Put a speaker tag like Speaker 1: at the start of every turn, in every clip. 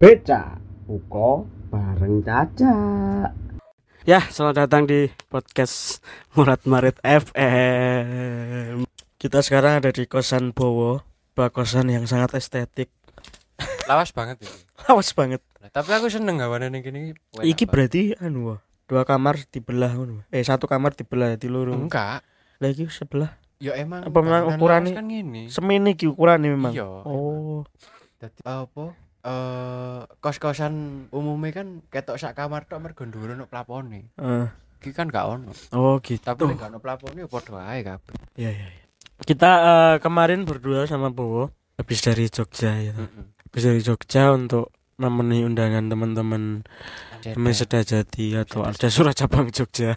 Speaker 1: Beca Uko bareng Caca
Speaker 2: Ya, selamat datang di podcast Murad Marit FM. Kita sekarang ada di kosan Bowo, bak kosan yang sangat estetik.
Speaker 3: lawas banget ini.
Speaker 2: Awas banget.
Speaker 3: Nah, tapi aku seneng gawane ning kene iki. Enak
Speaker 2: Iki
Speaker 3: banget.
Speaker 2: berarti anu wah, dua kamar dibelah ngono. Eh, satu kamar dibelah di loro.
Speaker 3: enggak.
Speaker 2: Lagi sebelah.
Speaker 3: Ya emang
Speaker 2: Apa memang
Speaker 3: bangunan
Speaker 2: ukurannya?
Speaker 3: lawas kan ngene.
Speaker 2: Semini ki ukurane memang.
Speaker 3: Iya.
Speaker 2: Oh,
Speaker 3: Dadi ah, apa? Eh kos-kosan umumnya kan ketok sak kamar tok mergo ndhuwur ono plafone.
Speaker 2: eh,
Speaker 3: Iki kan gak ono.
Speaker 2: oh gitu.
Speaker 3: Tapi nek gak ono plafone ya padha ae kabeh.
Speaker 2: Ya, ya, ya. Kita eh, kemarin berdua sama Bowo habis dari Jogja ya.
Speaker 3: Heeh.
Speaker 2: Habis dari Jogja untuk memenuhi undangan teman-teman Temen Sedajati atau ada surat cabang Jogja.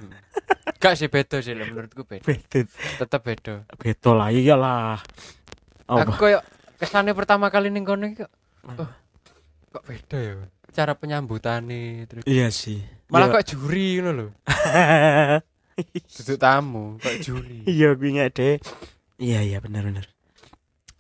Speaker 3: Gak sih beda sih lho, menurutku beda.
Speaker 2: Betul.
Speaker 3: Tetep beda.
Speaker 2: Betul lah iyalah. Apa?
Speaker 3: Aku koyo kesane pertama kali ning kono iki kok. oh, Kok beda ya? Cara penyambutane terus
Speaker 2: Iya sih.
Speaker 3: malah
Speaker 2: Iya.
Speaker 3: kok juri ngono lho. Duduk tamu kok juri.
Speaker 2: Iya gue ingat deh. Iya iya benar benar.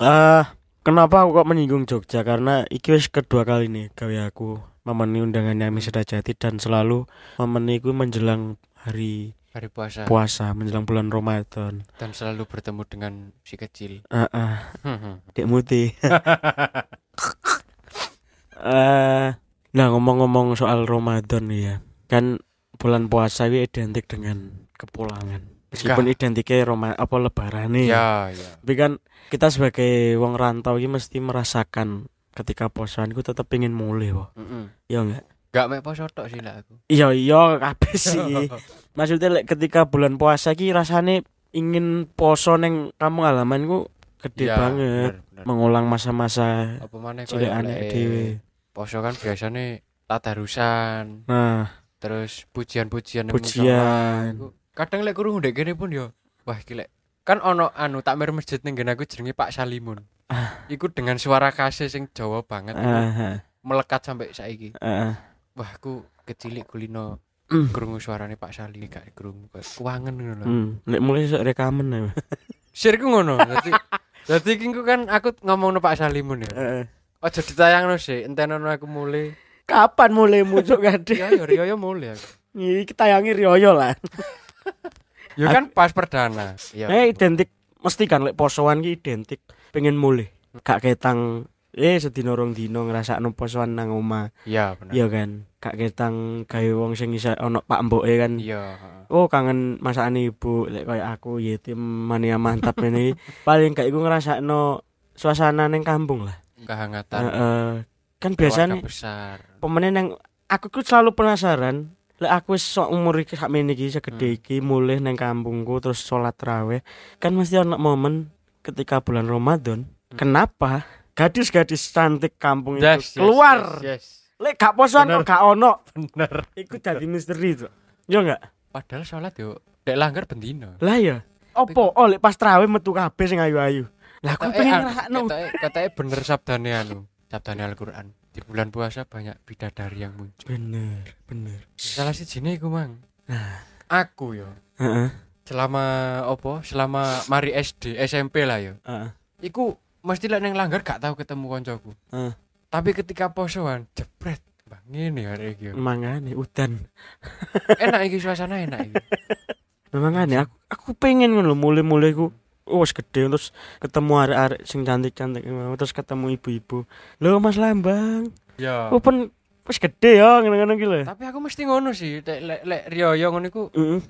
Speaker 2: Eh kenapa aku kok menyinggung Jogja karena iki wis kedua kali nih gawe aku memenuhi undangan Nyami Sedajati dan selalu memenuhi gue menjelang hari
Speaker 3: hari puasa
Speaker 2: puasa menjelang bulan Ramadan.
Speaker 3: dan selalu bertemu dengan si kecil.
Speaker 2: Ah ah. Dek Muti. Eh, nah ngomong-ngomong soal Ramadan nih ya. Kan bulan puasa ini identik dengan kepulangan. Meskipun identiknya Roma apa lebaran nih.
Speaker 3: ya, ya.
Speaker 2: Tapi kan kita sebagai wong rantau ini mesti merasakan ketika posoan ku tetap pengen mulai kok.
Speaker 3: Mm-mm.
Speaker 2: Iya enggak?
Speaker 3: Gak mek poso tok sih lah aku.
Speaker 2: Iya iya kabeh sih. Maksudnya like, ketika bulan puasa ki rasane ingin poso neng kamu halamanku gede
Speaker 3: Ya,
Speaker 2: banget.
Speaker 3: bener, bener.
Speaker 2: Mengulang masa-masa
Speaker 3: Apa maneh
Speaker 2: cilik
Speaker 3: koyo
Speaker 2: aneh
Speaker 3: lek
Speaker 2: dhewe.
Speaker 3: Poso kan biasanya tadarusan,
Speaker 2: Nah,
Speaker 3: terus pujian-pujian nang
Speaker 2: Pujian.
Speaker 3: musola. Iku- Kadang lek krungu ndek kene pun ya, wah iki lek kan ono anu takmir masjid ning ngene aku jenenge Pak Salimun.
Speaker 2: Ah.
Speaker 3: Iku dengan suara kasih sing Jawa banget
Speaker 2: Eh,
Speaker 3: iku
Speaker 2: Aha,
Speaker 3: melekat sampai saiki.
Speaker 2: aha.
Speaker 3: Wah, aku kecilik kulino
Speaker 2: Mm.
Speaker 3: krungu suarane Pak Sali gak krungu koyo kuangen ngono lho.
Speaker 2: Hmm, nek mulai sok rekaman ya.
Speaker 3: Sirku ngono. Dadi dadi iki engko kan aku ngomongno Pak Salimun ya.
Speaker 2: Heeh.
Speaker 3: Aja ditayangno sih, entenono aku mule.
Speaker 2: Kapan mulai muncul gade?
Speaker 3: Ya yo yo yo mule aku.
Speaker 2: Iki tayangi Rioyo lah.
Speaker 3: Ya kan pas perdana. Iya.
Speaker 2: Eh identik mesti kan lek posoan ki identik pengen mulai. Kak ketang eh sedina rong dino ngrasakno posoan nang omah.
Speaker 3: Iya bener.
Speaker 2: Iya kan. Kak ketang gawe wong sing isa ono pak mboke kan.
Speaker 3: Iya.
Speaker 2: Oh kangen masakan ibu lek koyo aku yatim mania mantap ini paling gak iku ngrasakno suasana neng kampung lah.
Speaker 3: Kehangatan.
Speaker 2: Heeh. Kan
Speaker 3: keluarga
Speaker 2: biasanya
Speaker 3: besar.
Speaker 2: pemene nang aku ku selalu penasaran lek aku wis sok umur iki sakmene iki
Speaker 3: Hmm.
Speaker 2: segede iki mulih nang kampungku terus sholat raweh kan mesti ana momen ketika bulan Ramadan kenapa gadis-gadis cantik kampung itu
Speaker 3: Hmm. Yes, yes,
Speaker 2: keluar
Speaker 3: Yes. yes.
Speaker 2: lek gak posoan kok gak ono
Speaker 3: Bener.
Speaker 2: iku jadi misteri tuh yo enggak
Speaker 3: Padahal sholat yo dek langgar bendino.
Speaker 2: lah ya opo oh lek pas traweh metu kabeh sing ayu-ayu lah aku
Speaker 3: Ketoke
Speaker 2: pengen
Speaker 3: anu-
Speaker 2: ngrasakno
Speaker 3: ketoke- Ketoke bener sabdane anu. Sabdane Al-Qur'an. Di bulan puasa banyak bidadari yang muncul.
Speaker 2: bener bener
Speaker 3: Salah si jine iku, Mang. Aku yo
Speaker 2: heeh
Speaker 3: selama opo selama mari SD SMP lah yo
Speaker 2: heeh
Speaker 3: iku mesti lek neng langgar gak tau ketemu koncoku
Speaker 2: Heeh.
Speaker 3: tapi ketika posoan jebret Bang, ngene ya hari iki yo.
Speaker 2: mangane udan
Speaker 3: enak iki suasana enak iki
Speaker 2: makanya aku aku pengen ngono lho mulai-mulai ku oh, wis gede terus ketemu arek-arek sing cantik-cantik mau, terus ketemu ibu-ibu. Lho Mas Lambang,
Speaker 3: Ya.
Speaker 2: aku pun wis gede ya ngono-ngono iki lho.
Speaker 3: Tapi aku mesti ngono sih, lek lek lek riyoyo ngono iku
Speaker 2: Heeh,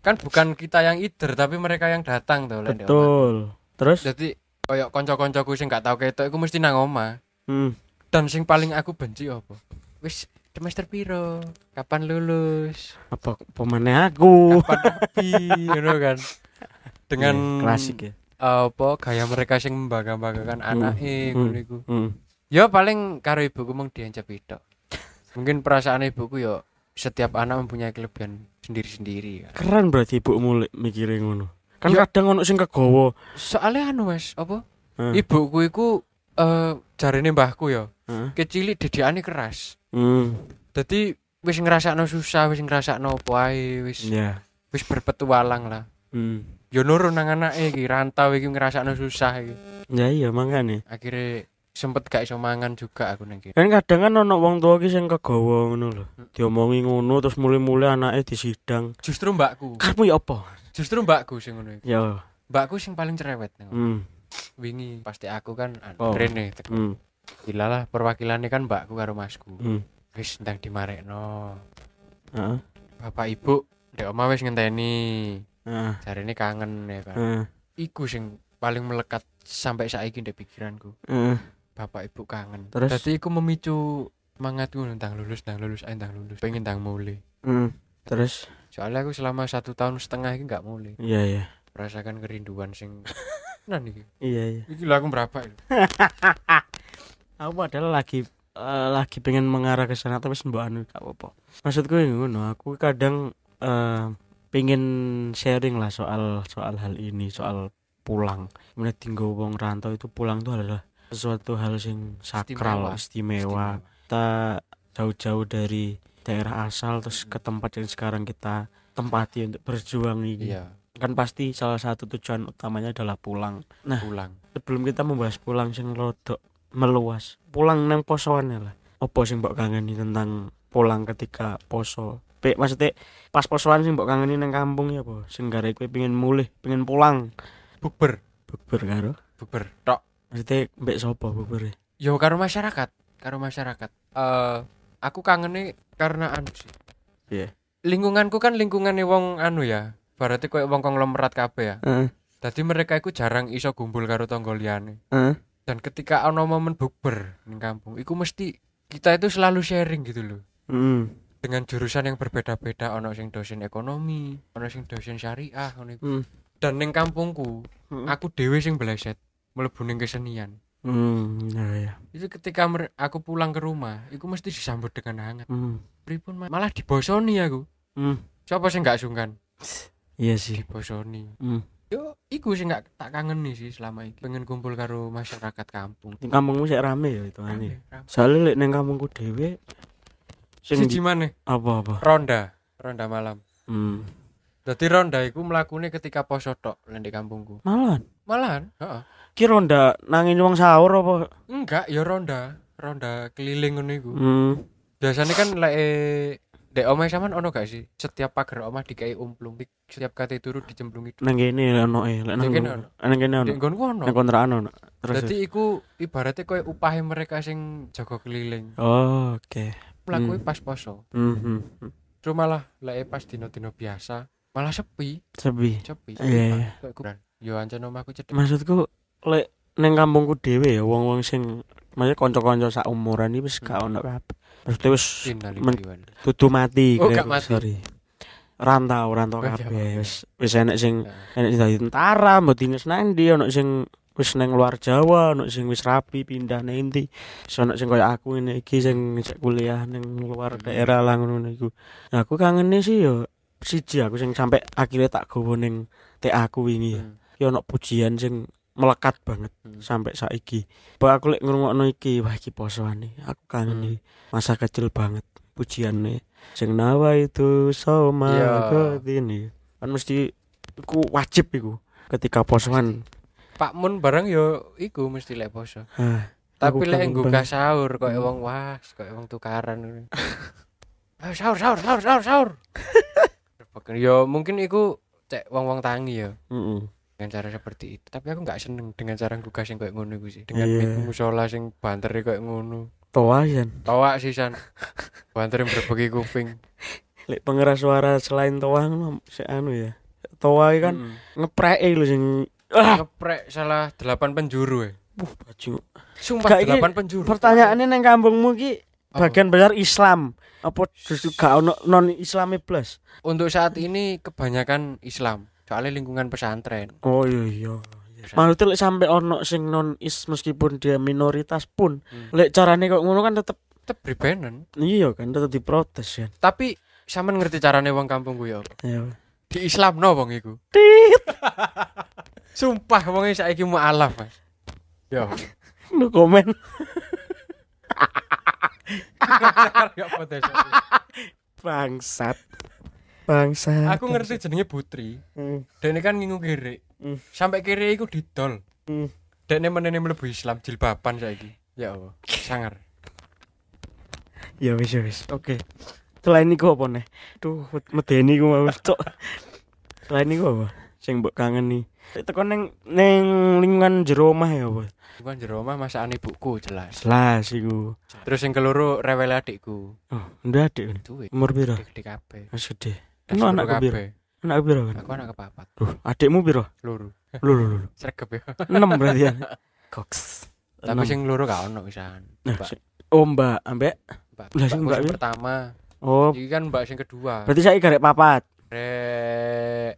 Speaker 3: kan bukan kita yang ider tapi mereka yang datang tuh lek di omah.
Speaker 2: betul. Terus
Speaker 3: Jadi koyo kanca-kancaku sing gak tau ketok iku mesti nang omah.
Speaker 2: hmm,
Speaker 3: Dan sing paling aku benci apa? Wis semester piro? Kapan lulus?
Speaker 2: apa pemane aku?
Speaker 3: Kapan rapi? ngono kan. Dengan eh,
Speaker 2: Iya, klasik ya.
Speaker 3: apa gaya mereka sing membangga-banggakan anake
Speaker 2: Hmm.
Speaker 3: ngono iku.
Speaker 2: Hmm.
Speaker 3: Ya paling karo ibuku mung diancap itu. Mungkin perasaan ibuku ya setiap anak mempunyai kelebihan sendiri-sendiri kan.
Speaker 2: Keren berarti ibu mulai mikirin ngono. Kan
Speaker 3: Ya.
Speaker 2: kadang ono sing kegowo.
Speaker 3: Soalnya anu Mas, apa?
Speaker 2: Hmm.
Speaker 3: Ibuku iku eh jarine mbahku ya.
Speaker 2: Heeh.
Speaker 3: Kecilik didikane keras.
Speaker 2: Hmm.
Speaker 3: Dadi wis ngrasakno susah, wis ngrasakno apa ae, wis
Speaker 2: Ya.
Speaker 3: wis berpetualang lah.
Speaker 2: Hmm.
Speaker 3: Ya nurun nang anake iki rantau iki ngrasakno susah iki.
Speaker 2: Ya iya makanya.
Speaker 3: Akhire sempet gak iso mangan juga aku nang kene.
Speaker 2: Kan kadang kan ono wong tua ki sing kegowo ngono lho.
Speaker 3: Hmm.
Speaker 2: Diomongi ngono terus mulai-mulai anake disidang.
Speaker 3: Justru mbakku,
Speaker 2: Karmu ya apa?
Speaker 3: justru mbakku sing ngono iku.
Speaker 2: Ya.
Speaker 3: Mbakku sing paling cerewet nang
Speaker 2: Hmm.
Speaker 3: wingi pasti aku kan
Speaker 2: Oh.
Speaker 3: anu rene teko.
Speaker 2: Hmm.
Speaker 3: gila lah perwakilannya kan mbakku karo masku
Speaker 2: Hmm.
Speaker 3: wis entang dimarekno
Speaker 2: Heeh.
Speaker 3: bapak ibu ndek oma wis ngenteni
Speaker 2: Heeh.
Speaker 3: jarine kangen ya kan
Speaker 2: Heeh.
Speaker 3: iku sing paling melekat sampai saiki ndek pikiranku
Speaker 2: Heeh.
Speaker 3: bapak ibu kangen
Speaker 2: Terus?
Speaker 3: dadi iku memicu semangatku tentang lulus tentang lulus ayo tentang lulus pengen tentang mulai
Speaker 2: Hmm. Terus
Speaker 3: soalnya aku selama satu tahun setengah ini nggak mulai
Speaker 2: iya iya.
Speaker 3: merasakan kerinduan sing nah nih
Speaker 2: Iya iya.
Speaker 3: iki lho aku berapa
Speaker 2: aku padahal lagi eh, lagi pengen mengarah ke sana tapi mbak anu gak apa-apa maksudku ya ngono aku kadang eh, pengen sharing lah soal soal hal ini soal pulang Mulai tinggal wong rantau itu pulang itu adalah sesuatu hal sing sakral istimewa,
Speaker 3: Istimewa.
Speaker 2: kita jauh-jauh dari daerah asal terus ke tempat yang sekarang kita tempati untuk berjuang ini
Speaker 3: iya
Speaker 2: kan pasti salah satu tujuan utamanya adalah pulang
Speaker 3: pulang
Speaker 2: sebelum kita membahas pulang sing rodok meluas pulang nang posoan lah opo sing mbok kangeni tentang pulang ketika poso Pe, maksudnya pas posoan sing mbok kangeni nang kampung ya apa sing gara kowe pengen mulih pengen pulang
Speaker 3: bukber
Speaker 2: bubur karo
Speaker 3: bukber tok
Speaker 2: maksudnya mbek sapa bubur
Speaker 3: Yo karo masyarakat, karo masyarakat. Eh aku kangen karena anu sih.
Speaker 2: Piye?
Speaker 3: Lingkunganku kan lingkungannya wong anu ya. Berarti koyo wong konglomerat kabeh ya.
Speaker 2: heeh
Speaker 3: Dadi mereka iku jarang iso gumpul karo tangga liyane.
Speaker 2: heeh
Speaker 3: Dan ketika ana momen bukber ning kampung, iku mesti kita itu selalu sharing gitu loh.
Speaker 2: heeh
Speaker 3: Dengan jurusan yang berbeda-beda, ana sing dosen ekonomi, ana sing dosen syariah, ngono iku.
Speaker 2: Hmm.
Speaker 3: Dan ning kampungku,
Speaker 2: Hmm.
Speaker 3: aku dhewe sing bleset mlebu ning kesenian.
Speaker 2: hmm ya ya
Speaker 3: itu ketika mer- aku pulang ke rumah itu mesti disambut dengan hangat
Speaker 2: hmm
Speaker 3: pripun Mas? malah dibosoni aku
Speaker 2: hmm
Speaker 3: siapa sih nggak sungkan
Speaker 2: iya sih
Speaker 3: dibosoni
Speaker 2: hmm
Speaker 3: yo iku sih nggak tak kangen nih sih selama ini pengen kumpul karo masyarakat kampung
Speaker 2: Ning kampungmu sik rame ya hitungane
Speaker 3: Rame, rame.
Speaker 2: soalnya lek nang kampungku dhewe sing
Speaker 3: siji mana
Speaker 2: apa-apa
Speaker 3: ronda ronda malam
Speaker 2: hmm
Speaker 3: jadi ronda iku melakukannya ketika poso tok lek di kampungku
Speaker 2: malan
Speaker 3: malahan heeh.
Speaker 2: ki ronda nangin wong sahur apa
Speaker 3: enggak ya ronda ronda keliling ngono iku
Speaker 2: hmm
Speaker 3: biasanya kan lek eh, dek omah sampean ono gak sih setiap pagar omah dikai umplung setiap kate turu dicemplungi
Speaker 2: nang kene lek ono e lek nang
Speaker 3: Nang kene ono.
Speaker 2: nang kene ono
Speaker 3: dek nggonku ono
Speaker 2: nang kontrakan ono terus
Speaker 3: Berarti iku ibaratnya koyo upahe mereka sing jaga keliling.
Speaker 2: oh oke Hmm.
Speaker 3: Mlaku pas poso.
Speaker 2: Mhm.
Speaker 3: Cuma malah lek eh, pas dino-dino biasa malah sepi,
Speaker 2: sepi
Speaker 3: sepi.
Speaker 2: Iya, iya.
Speaker 3: Koyo kuburan. Yo ancen omahku cedhek.
Speaker 2: maksudku lek nang kampungku dhewe ya wong-wong sing maksudnya kanca-kanca sak umuran iki wis
Speaker 3: Hmm.
Speaker 2: gak ono kabeh maksudnya wis men-
Speaker 3: Innalillahi wa inna ilaihi
Speaker 2: dudu mati
Speaker 3: Oh,
Speaker 2: kira-
Speaker 3: gak mati.
Speaker 2: sorry rantau rantau
Speaker 3: Oh, iya.
Speaker 2: kabeh wis wis enek sing
Speaker 3: raji'un.
Speaker 2: enek sing dadi tentara mbok dinas nang ndi ono sing wis nang luar Jawa ono sing wis rapi pindah nang ndi Wis ono sing kaya aku ngene iki sing ngejak kuliah nang
Speaker 3: Hmm.
Speaker 2: luar daerah lah ngono niku nah, aku kangene sih yo siji aku sing sampe akhirnya tak gowo ning tek aku wingi
Speaker 3: Hmm.
Speaker 2: ya ono pujian sing melekat banget
Speaker 3: Hmm.
Speaker 2: sampai saiki Pak aku lek ngrungokno iki wah iki posoane aku kangen
Speaker 3: Hmm.
Speaker 2: iki masa kecil banget pujiannya sing nawa itu soma
Speaker 3: Iya.
Speaker 2: ini kan mesti iku wajib iku ketika posoan
Speaker 3: Pak Mun bareng yo iku mesti lek poso.
Speaker 2: Hah,
Speaker 3: Tapi
Speaker 2: Ah, aku Hmm.
Speaker 3: lek
Speaker 2: kangen
Speaker 3: nggugah
Speaker 2: banget.
Speaker 3: sahur koyo wong was, koyo wong tukaran. Ayo sahur, sahur, sahur, sahur, sahur. Yo Ya, mungkin iku cek wong-wong tangi ya
Speaker 2: Heeh.
Speaker 3: dengan cara seperti itu tapi aku nggak seneng dengan cara nggugas yang kayak ngono iku sih dengan
Speaker 2: Iya.
Speaker 3: yeah. musola sing banter kayak ngono
Speaker 2: Toa Yan.
Speaker 3: tawak sih san banter yang berbagi kuping
Speaker 2: Lek pengeras suara selain toa ngono sik anu ya. Toa iki kan
Speaker 3: Mm-mm.
Speaker 2: ngepreke lho sing ah
Speaker 3: Hmm. ngeprek salah delapan penjuru ya
Speaker 2: wuh, baju.
Speaker 3: sumpah
Speaker 2: Gak, iki
Speaker 3: delapan penjuru
Speaker 2: Pertanyaannya nang kampungmu ki
Speaker 3: Apa?
Speaker 2: bagian besar Islam apa justru gak ono non Islami plus?
Speaker 3: untuk saat ini kebanyakan Islam soalnya lingkungan pesantren
Speaker 2: Oh iya iya. Maksudnya lek sampe ono sing non is meskipun dia minoritas pun,
Speaker 3: Hmm.
Speaker 2: lek carane kok ngono kan tetep
Speaker 3: tetep beribanan
Speaker 2: iya kan tetep diprotes ya.
Speaker 3: tapi sama ngerti carane wong kampungku ya apa?
Speaker 2: Iya.
Speaker 3: di Islam no wong iku
Speaker 2: Tit.
Speaker 3: sumpah wong saiki mau alaf mas ya
Speaker 2: No komen.
Speaker 3: Gak protes aku.
Speaker 2: Bangsat. Bangsat.
Speaker 3: aku ngerti jenenge Putri
Speaker 2: Hmm.
Speaker 3: Dene kan ngingu kiri.
Speaker 2: Hmm.
Speaker 3: Sampai kiri iku didol.
Speaker 2: Hmm.
Speaker 3: Dene menene mlebu Islam jilbaban saiki. Ya Allah, sangar.
Speaker 2: Ya wis ya wis. Oke. Selain iku apa neh? Duh, medeni ku mau cok. Selain iku apa? Sing mbok kangen nih. Tekan neng neng lingkungan jero omah ya apa?
Speaker 3: Bukan jero omah masakan ibuku jelas.
Speaker 2: Jelas iku.
Speaker 3: Terus yang keloro rewel adikku.
Speaker 2: Oh, ndak adik. kan?
Speaker 3: Duwe
Speaker 2: Umur piro?
Speaker 3: adik kabeh.
Speaker 2: Wis gede.
Speaker 3: Das
Speaker 2: Eno
Speaker 3: loro
Speaker 2: anak
Speaker 3: kabeh.
Speaker 2: piro? Anak piro kan?
Speaker 3: Aku anak kepapat.
Speaker 2: Duh, adikmu piro?
Speaker 3: Loro.
Speaker 2: Lho lho lho. lho.
Speaker 3: Sregep ya.
Speaker 2: Enem berarti ya. Cox.
Speaker 3: Tapi sing loro gak ono pisan.
Speaker 2: Nah,
Speaker 3: Mbak,
Speaker 2: sing- Oh, Mbak, ambek.
Speaker 3: mbak.
Speaker 2: lah, sing
Speaker 3: mbakku
Speaker 2: mbak
Speaker 3: sing
Speaker 2: piro?
Speaker 3: pertama.
Speaker 2: Oh,
Speaker 3: Iki kan mbak sing kedua.
Speaker 2: berarti saya garek papat.
Speaker 3: Rek.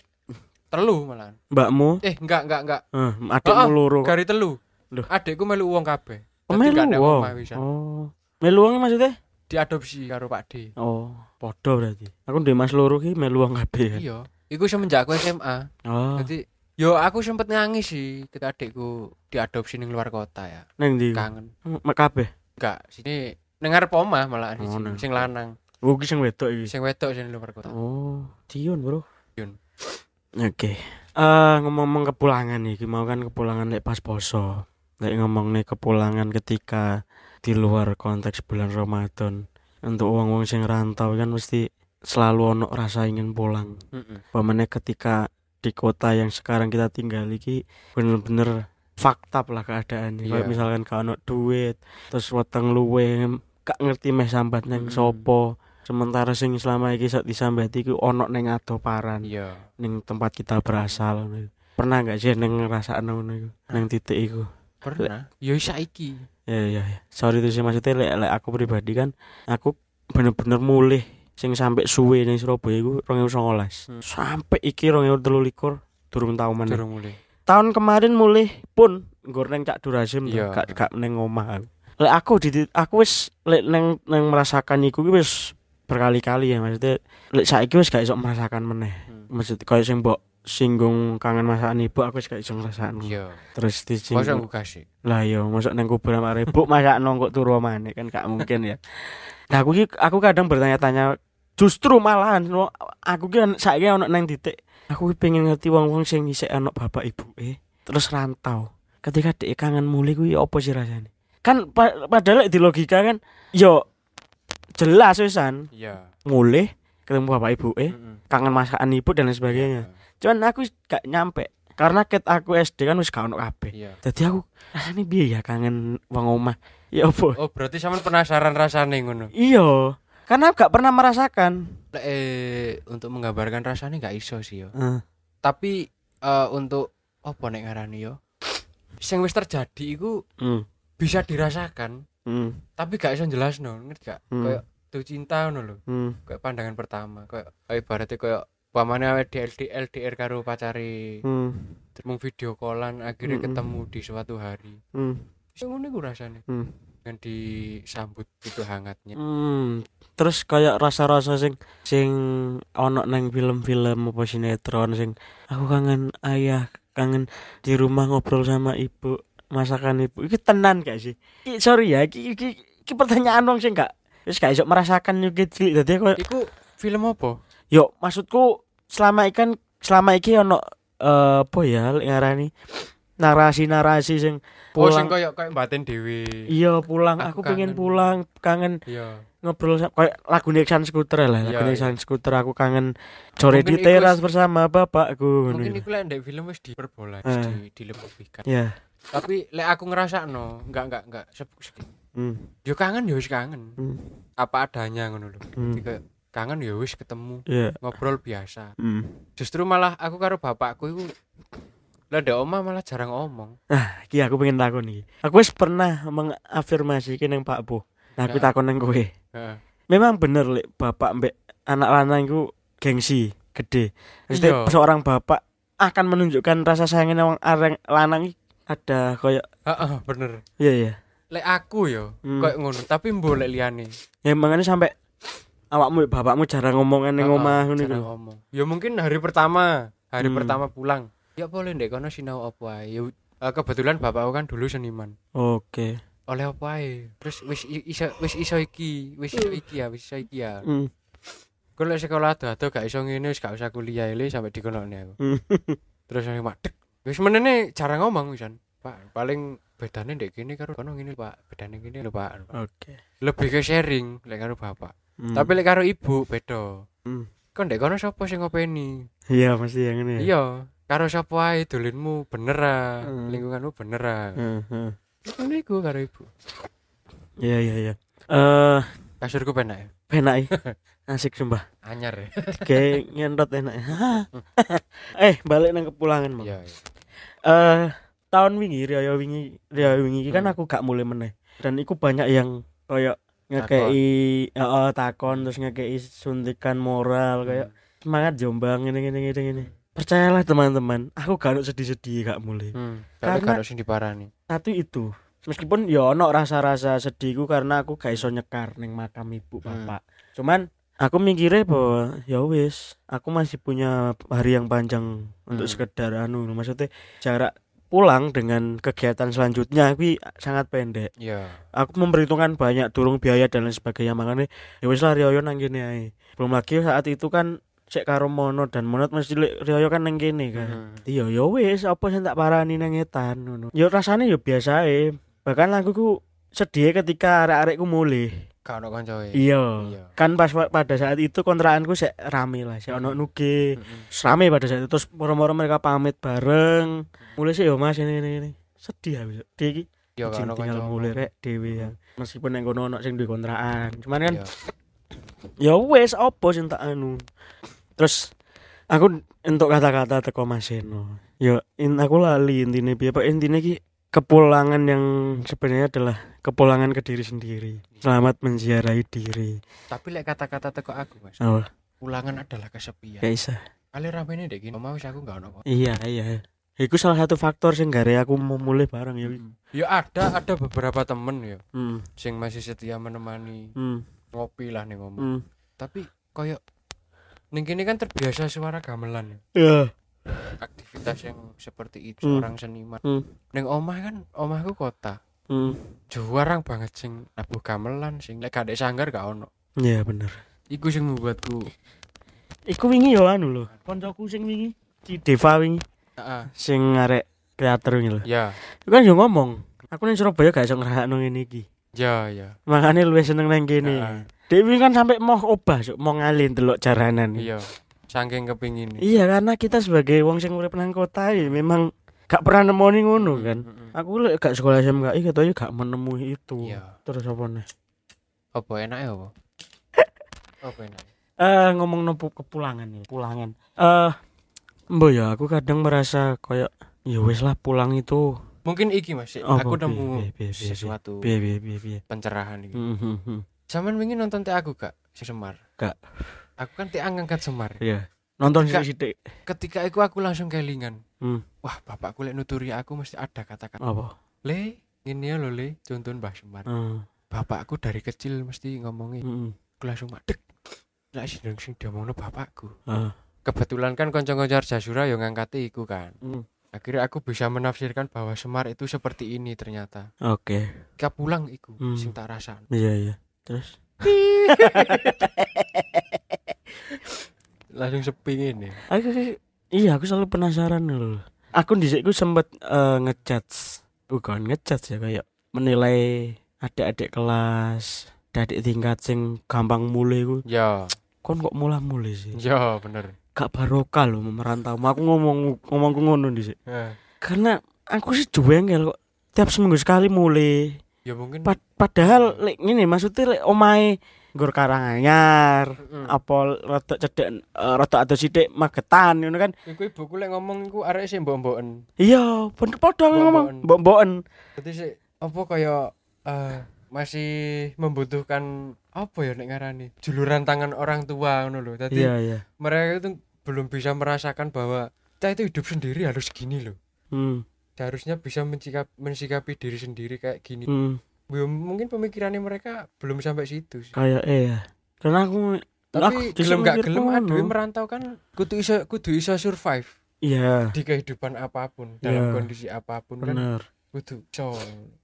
Speaker 3: Telu malahan.
Speaker 2: Mbakmu,
Speaker 3: Eh, enggak enggak enggak.
Speaker 2: eh, adikmu
Speaker 3: Oh,
Speaker 2: loro.
Speaker 3: Gari telu.
Speaker 2: Loh.
Speaker 3: Adikku melu uang kabeh.
Speaker 2: Oh,
Speaker 3: Dadi gak
Speaker 2: melu
Speaker 3: ada
Speaker 2: wong.
Speaker 3: omah pisan.
Speaker 2: Oh. Melu wong maksudnya?
Speaker 3: Diadopsi karo Pak D.
Speaker 2: Oh, podo berarti. Aku ndek Mas loro ki melu wong kabeh kan.
Speaker 3: Iya, iku semenjak aku SMA.
Speaker 2: Oh,
Speaker 3: Jadi yo aku sempet nangis sih ketika adikku diadopsi ning luar kota ya.
Speaker 2: neng ndi?
Speaker 3: Kangen.
Speaker 2: Mak kabeh.
Speaker 3: Enggak, sini dengar poma malah di
Speaker 2: Oh,
Speaker 3: sini.
Speaker 2: nang-
Speaker 3: Sing lanang,
Speaker 2: Oh, ki sing wedok iki.
Speaker 3: sing wedok sing luar kota.
Speaker 2: Oh, Dion, Bro.
Speaker 3: Dion.
Speaker 2: Oke. Eh, ngomong-ngomong kepulangan iki, mau kan kepulangan lek pas poso. Lek ngomong nih kepulangan ketika di luar konteks bulan Ramadan. Untuk wong-wong sing rantau kan mesti selalu ono rasa ingin pulang.
Speaker 3: Heeh.
Speaker 2: Pemene ketika di kota yang sekarang kita tinggal iki bener-bener fakta lah keadaannya. Kayak
Speaker 3: Iya.
Speaker 2: misalkan gak ono duit, terus weteng luwe, gak ngerti meh sambat neng
Speaker 3: Mm-mm.
Speaker 2: sopo. Sementara sing selama iki sak disambati iku ono neng adoparan,
Speaker 3: Iya.
Speaker 2: neng tempat kita berasal. ngono iku. Pernah gak sih neng ngerasa ngono iku, neng titik iku?
Speaker 3: Pernah. Yo saiki.
Speaker 2: Ya ya ya. Sorry itu sih maksudnya lek lek aku pribadi kan aku bener-bener mulih sing sampai suwe ning Surabaya iku 2019.
Speaker 3: Hmm.
Speaker 2: Sampai iki 2023 durung tau meneh.
Speaker 3: Durung mulai.
Speaker 2: Tahun kemarin mulih pun nggur neng Cak Durasim tuh,
Speaker 3: Iya.
Speaker 2: gak gak neng omah aku. Lek aku di aku wis lek neng neng merasakan iku ki wis berkali-kali ya maksudnya lek saiki wis gak iso merasakan meneh.
Speaker 3: Hmm.
Speaker 2: Maksud kaya sing mbok singgung kangen masakan ibu aku wis gak iso ngrasakno.
Speaker 3: Iya.
Speaker 2: Terus disinggung
Speaker 3: Masa aku kasih.
Speaker 2: lah yo masuk nang kuburan mare buk masak nongkok turu maneh kan gak mungkin ya nah aku ki aku kadang bertanya-tanya justru malahan wo- aku ki an- saiki ono nang titik aku ki pengen ngerti wong-wong sing isih ono bapak ibu eh terus rantau ketika dek kangen mulih kuwi apa sih rasane kan pa- padahal di logika kan yo jelas wisan
Speaker 3: Iya.
Speaker 2: mulih ketemu bapak ibu eh
Speaker 3: Heeh.
Speaker 2: kangen masakan ibu dan lain sebagainya cuman aku gak nyampe karena ket aku SD kan wis gak ono kabeh
Speaker 3: Iya.
Speaker 2: Tadi aku rasanya biar ya kangen wong omah. Ya apa?
Speaker 3: Oh, berarti sampean penasaran rasane ngono.
Speaker 2: Iya, karena gak pernah merasakan.
Speaker 3: Lek, eh, untuk menggambarkan rasane gak iso sih yo.
Speaker 2: Heeh.
Speaker 3: Tapi eh, untuk apa nek ngarani yo? Sing wis terjadi iku
Speaker 2: Hmm.
Speaker 3: bisa dirasakan
Speaker 2: Hmm.
Speaker 3: tapi gak bisa jelas no ngerti gak
Speaker 2: Hmm.
Speaker 3: kayak tuh cinta no lho
Speaker 2: hmm.
Speaker 3: kayak pandangan pertama kayak kayak ibaratnya kayak pamane awet di LDR, LDR karo pacari
Speaker 2: Hmm.
Speaker 3: mung video callan akhirnya
Speaker 2: Mm-mm.
Speaker 3: ketemu di suatu hari
Speaker 2: Hmm.
Speaker 3: sing ngono iku rasane
Speaker 2: Hmm.
Speaker 3: dengan disambut gitu hangatnya
Speaker 2: Hmm. Terus kayak rasa-rasa sing sing ono nang film-film apa sinetron sing aku kangen ayah, kangen di rumah ngobrol sama ibu, masakan ibu. Iki tenan gak sih? Iki, sorry ya, iki, iki, iki pertanyaan dong sing gak Terus gak iso merasakan juga cilik tadi aku
Speaker 3: iku film apa
Speaker 2: Yo, maksudku selama ikan selama iki ono eh apa ya lek ngarani narasi-narasi sing
Speaker 3: oh
Speaker 2: pulang.
Speaker 3: sing kayak kayak batin dewi
Speaker 2: iya, pulang. Aku,
Speaker 3: Aku
Speaker 2: pengen
Speaker 3: kangen.
Speaker 2: pulang, kangen
Speaker 3: iya
Speaker 2: ngobrol sa- kayak lagu Nixon Scooter lah, lagu
Speaker 3: Iya,
Speaker 2: Nixon Scooter aku kangen sore di
Speaker 3: Mungkin iku
Speaker 2: teras
Speaker 3: wis-
Speaker 2: bersama bapakku.
Speaker 3: mungkin
Speaker 2: ngono.
Speaker 3: iku lek ndek film wis diperboleh
Speaker 2: Eh.
Speaker 3: di dilebihkan
Speaker 2: Ya.
Speaker 3: tapi lek aku ngerasa no enggak enggak enggak sep- sep-
Speaker 2: Hmm.
Speaker 3: yo kangen yo wis kangen
Speaker 2: Hmm.
Speaker 3: apa adanya ngono lho
Speaker 2: Hmm.
Speaker 3: Ketika kangen yo wis ketemu
Speaker 2: Ya.
Speaker 3: ngobrol biasa
Speaker 2: Hmm.
Speaker 3: justru malah aku karo bapakku iku lah ndek oma malah jarang ngomong
Speaker 2: Ah, iki aku pengen takon iki. Aku wis pernah mengafirmasikan yang Pak Bu. Nah, aku
Speaker 3: Ya.
Speaker 2: takon nang kowe.
Speaker 3: Heeh.
Speaker 2: Memang bener lek bapak mbek anak lanang iku gengsi gede. Maksudnya
Speaker 3: Iya.
Speaker 2: seorang bapak akan menunjukkan rasa sayangnya wong areng lanang iki ada koyo
Speaker 3: Heeh, bener
Speaker 2: iya ya.
Speaker 3: lek aku yo
Speaker 2: Hmm.
Speaker 3: koyo ngono tapi mbok lek liyane
Speaker 2: Ya mangane sampai awakmu mbek bapakmu jarang ngomongan ning
Speaker 3: Heeh,
Speaker 2: omah ngono
Speaker 3: jarang
Speaker 2: iku.
Speaker 3: ngomong ya mungkin hari pertama hari
Speaker 2: Hmm.
Speaker 3: pertama pulang ya boleh ndek kono sinau apa ae yo eh, kebetulan bapakku kan dulu seniman
Speaker 2: Oke.
Speaker 3: oleh apa ae terus wis i- iso wis iso iki wis iso iki ya wis iso iki ya
Speaker 2: Hmm.
Speaker 3: Gue lek sekolah tuh atau gak iso ngene wis gak usah kuliah le sampai dikonokne aku.
Speaker 2: Hmm.
Speaker 3: Terus aku madek. Wis menene jarang ngomong wisan. Pak, paling bedane ndek kene karo kono ngene, Pak. Bedane ngene lho, Pak.
Speaker 2: Oke.
Speaker 3: Lebih ke sharing lek karo bapak.
Speaker 2: Hmm.
Speaker 3: Tapi lek karo ibu beda.
Speaker 2: Hmm.
Speaker 3: Kon ndek kono sapa sing ngopeni?
Speaker 2: iya mesti yang ini. ya.
Speaker 3: Iya, karo sapa ae dolenmu bener ah,
Speaker 2: Hmm.
Speaker 3: lingkunganmu bener ah.
Speaker 2: Heeh, heeh.
Speaker 3: Ngono iku karo ibu.
Speaker 2: Iya iya iya. Eh,
Speaker 3: Kasurku penak. ya?
Speaker 2: penak iki. Asik sumpah.
Speaker 3: Anyar ya.
Speaker 2: Kayak nyentot enak. eh, balik nang kepulangan, Mang. Eh,
Speaker 3: Iya. iya.
Speaker 2: tahun wingi riyo wingi riyo wingi iki kan
Speaker 3: Hmm.
Speaker 2: aku gak mulai meneh. Dan iku banyak yang koyo ngekei heeh takon terus ngekei suntikan moral kayak semangat jombang ini ini ini ini. Percayalah teman-teman, aku gak ono sedih-sedih gak mulai.
Speaker 3: Hmm, tapi
Speaker 2: Karena-
Speaker 3: karo sing diparani.
Speaker 2: Satu itu. Meskipun ya ono rasa-rasa sedihku karena aku gak iso nyekar ning makam ibu
Speaker 3: Hmm.
Speaker 2: bapak. Cuman aku mikirnya bahwa ya wis, aku masih punya hari yang panjang untuk
Speaker 3: Hmm.
Speaker 2: sekedar anu maksudnya jarak pulang dengan kegiatan selanjutnya aku sangat pendek.
Speaker 3: Iya.
Speaker 2: Aku memperhitungkan banyak durung biaya dan lain sebagainya makanya ya wis lah Rioyo nang kene ae. Belum lagi saat itu kan cek karo Monot dan Monot mesti li- Rioyo kan nang kene kan.
Speaker 3: Hmm.
Speaker 2: Iya ya wis apa sing tak parani nang etan ngono. Ya rasane ya biasa ae. Bahkan aku ku sedih ketika arek-arekku mulih.
Speaker 3: Gak ono kancoe.
Speaker 2: Iya.
Speaker 3: Iya.
Speaker 2: Kan pas wa- pada saat itu kontrakanku sek rame lah, sek ono nuge.
Speaker 3: Mm-mm.
Speaker 2: Terus Rame pada saat itu terus moro-moro mereka pamit bareng. Mulai sih yo Mas ini ini ini. Sedih aku. Sedih iki.
Speaker 3: Iya, gak
Speaker 2: Sing
Speaker 3: ono
Speaker 2: tinggal
Speaker 3: kancoe.
Speaker 2: mulih rek dhewe ya. Meskipun nang kono ono sing duwe kontrakan. Cuman kan ya
Speaker 3: Iya.
Speaker 2: wis apa sing tak anu terus aku untuk kata-kata teko Mas Eno ya in, aku lali intine piye Pak intine ki kepulangan yang sebenarnya adalah kepulangan ke diri sendiri selamat menziarahi diri
Speaker 3: Tapi lek kata-kata teko aku, Mas.
Speaker 2: oh
Speaker 3: Ulangan adalah kesepian.
Speaker 2: gak isa
Speaker 3: Kali ramene ndek kene omah wis aku gak ono kok.
Speaker 2: iya iya Iku salah satu faktor sing gare aku mau mulai bareng ya.
Speaker 3: Ya ada ada beberapa temen ya
Speaker 2: Hmm,
Speaker 3: sing masih setia menemani
Speaker 2: hmm,
Speaker 3: ngopi lah ning omah.
Speaker 2: hmm.
Speaker 3: Tapi koyo ning kene kan terbiasa suara gamelan ya.
Speaker 2: Ya.
Speaker 3: Aktivitas yang seperti itu
Speaker 2: Hmm.
Speaker 3: orang seniman.
Speaker 2: Hmm.
Speaker 3: Ning omah kan omahku kota.
Speaker 2: Hmm.
Speaker 3: Jarang banget sing nabuh gamelan sing lek gak ndek sanggar gak ono.
Speaker 2: Ya bener.
Speaker 3: Iku sing membuatku
Speaker 2: Iku wingi yo anu lho. Koncoku sing wingi, si Deva wingi
Speaker 3: Heeh.
Speaker 2: sing arek teater wingi lho.
Speaker 3: Ya,
Speaker 2: Aku kan yo ngomong, aku ning Surabaya gak iso ngrasakno ngene iki.
Speaker 3: ya, ya.
Speaker 2: Makane luwih seneng nang
Speaker 3: Heeh.
Speaker 2: kene. Dewi kan sampai mau obah, Cuk, mau ngalih delok jaranan.
Speaker 3: Iya. Saking kepingin.
Speaker 2: Iya, karena kita sebagai wong sing urip nang kota ya memang gak pernah nemoni ngono kan.
Speaker 3: Mm-mm.
Speaker 2: Aku lek gak sekolah SMKI katanya gak menemui itu.
Speaker 3: Hmm. Iya.
Speaker 2: Terus apa nih?
Speaker 3: Apa enak ya apa? Apa enak?
Speaker 2: Eh ngomong nopo kepulangan ya, pulangan. Eh Mbak ya, aku kadang merasa kayak ya wis lah pulang itu.
Speaker 3: Mungkin iki Mas, sik.
Speaker 2: Apa, piye,
Speaker 3: aku
Speaker 2: piye,
Speaker 3: nemu
Speaker 2: piye, piye,
Speaker 3: sesuatu Hmm,
Speaker 2: Piye piye piye piye.
Speaker 3: pencerahan iki.
Speaker 2: Mhm, mhm.
Speaker 3: Zaman wingi nonton teh aku gak sing Semar.
Speaker 2: Gak.
Speaker 3: Aku kan teh angkat Semar.
Speaker 2: Iya. Nonton
Speaker 3: Gak-
Speaker 2: sithik-sithik.
Speaker 3: Ketika iku aku langsung kelingan.
Speaker 2: Hmm.
Speaker 3: Wah, bapakku lek nuturi aku mesti ada kata-kata.
Speaker 2: Apa? Ah.
Speaker 3: Le, ngene ya lho Le, contoh Mbah Semar.
Speaker 2: Heeh.
Speaker 3: Bapakku dari kecil mesti
Speaker 2: Hmm.
Speaker 3: ngomongi aku langsung madeg. Lah sing sing diomongno bapakku.
Speaker 2: Heeh.
Speaker 3: Kebetulan kan kanca-kanca Arjasura yang ngangkati iku kan.
Speaker 2: Hmm.
Speaker 3: Akhirnya aku bisa menafsirkan bahwa Semar itu seperti ini ternyata.
Speaker 2: Oke.
Speaker 3: Ketika pulang iku
Speaker 2: Hmm.
Speaker 3: sing tak rasan.
Speaker 2: Iya iya. Terus
Speaker 3: Langsung sepi ngene.
Speaker 2: aku iya aku selalu penasaran gitu loh. Aku di situ sempet eh, ngejudge. Bukan ngejudge ya kayak menilai adik-adik kelas. dadik tingkat sing gampang mulai ku
Speaker 3: Ya,
Speaker 2: kon kok mulah mulai sih
Speaker 3: ya bener.
Speaker 2: gak barokah loh merantau aku ngomong ngomongku ngono di
Speaker 3: Eh,
Speaker 2: karena aku sih juwengel kok tiap seminggu sekali mulai
Speaker 3: Ya mungkin
Speaker 2: Pad- padahal lek ngene maksudnya lek omahe nggur karanganyar
Speaker 3: Mm.
Speaker 2: apa rada cedek eh, rada atau sithik magetan ngono kan
Speaker 3: iku ibuku lek ngomong iku arek sih mbok-mboken.
Speaker 2: iya bener padha aku ngomong
Speaker 3: Mbok-mboken.
Speaker 2: mbok-mboken
Speaker 3: Berarti sih apa kaya eh, masih membutuhkan apa ya nek ngarani juluran tangan orang tua ngono lho. Dadi
Speaker 2: iya iya
Speaker 3: mereka itu belum bisa merasakan bahwa kita itu hidup sendiri harus gini loh.
Speaker 2: hmm
Speaker 3: Seharusnya bisa mencikap- mensikapi diri sendiri kayak gini.
Speaker 2: hmm
Speaker 3: Ya, mungkin pemikirannya mereka belum sampai situ sih.
Speaker 2: kayak eh ya karena aku
Speaker 3: Tapi
Speaker 2: justru
Speaker 3: gelem gak
Speaker 2: mikir
Speaker 3: gelem
Speaker 2: ngono.
Speaker 3: aduh merantau kan kudu iso kudu iso survive
Speaker 2: iya
Speaker 3: di kehidupan apapun, dalam
Speaker 2: Iya.
Speaker 3: kondisi apapun kan
Speaker 2: bener
Speaker 3: kudu iso.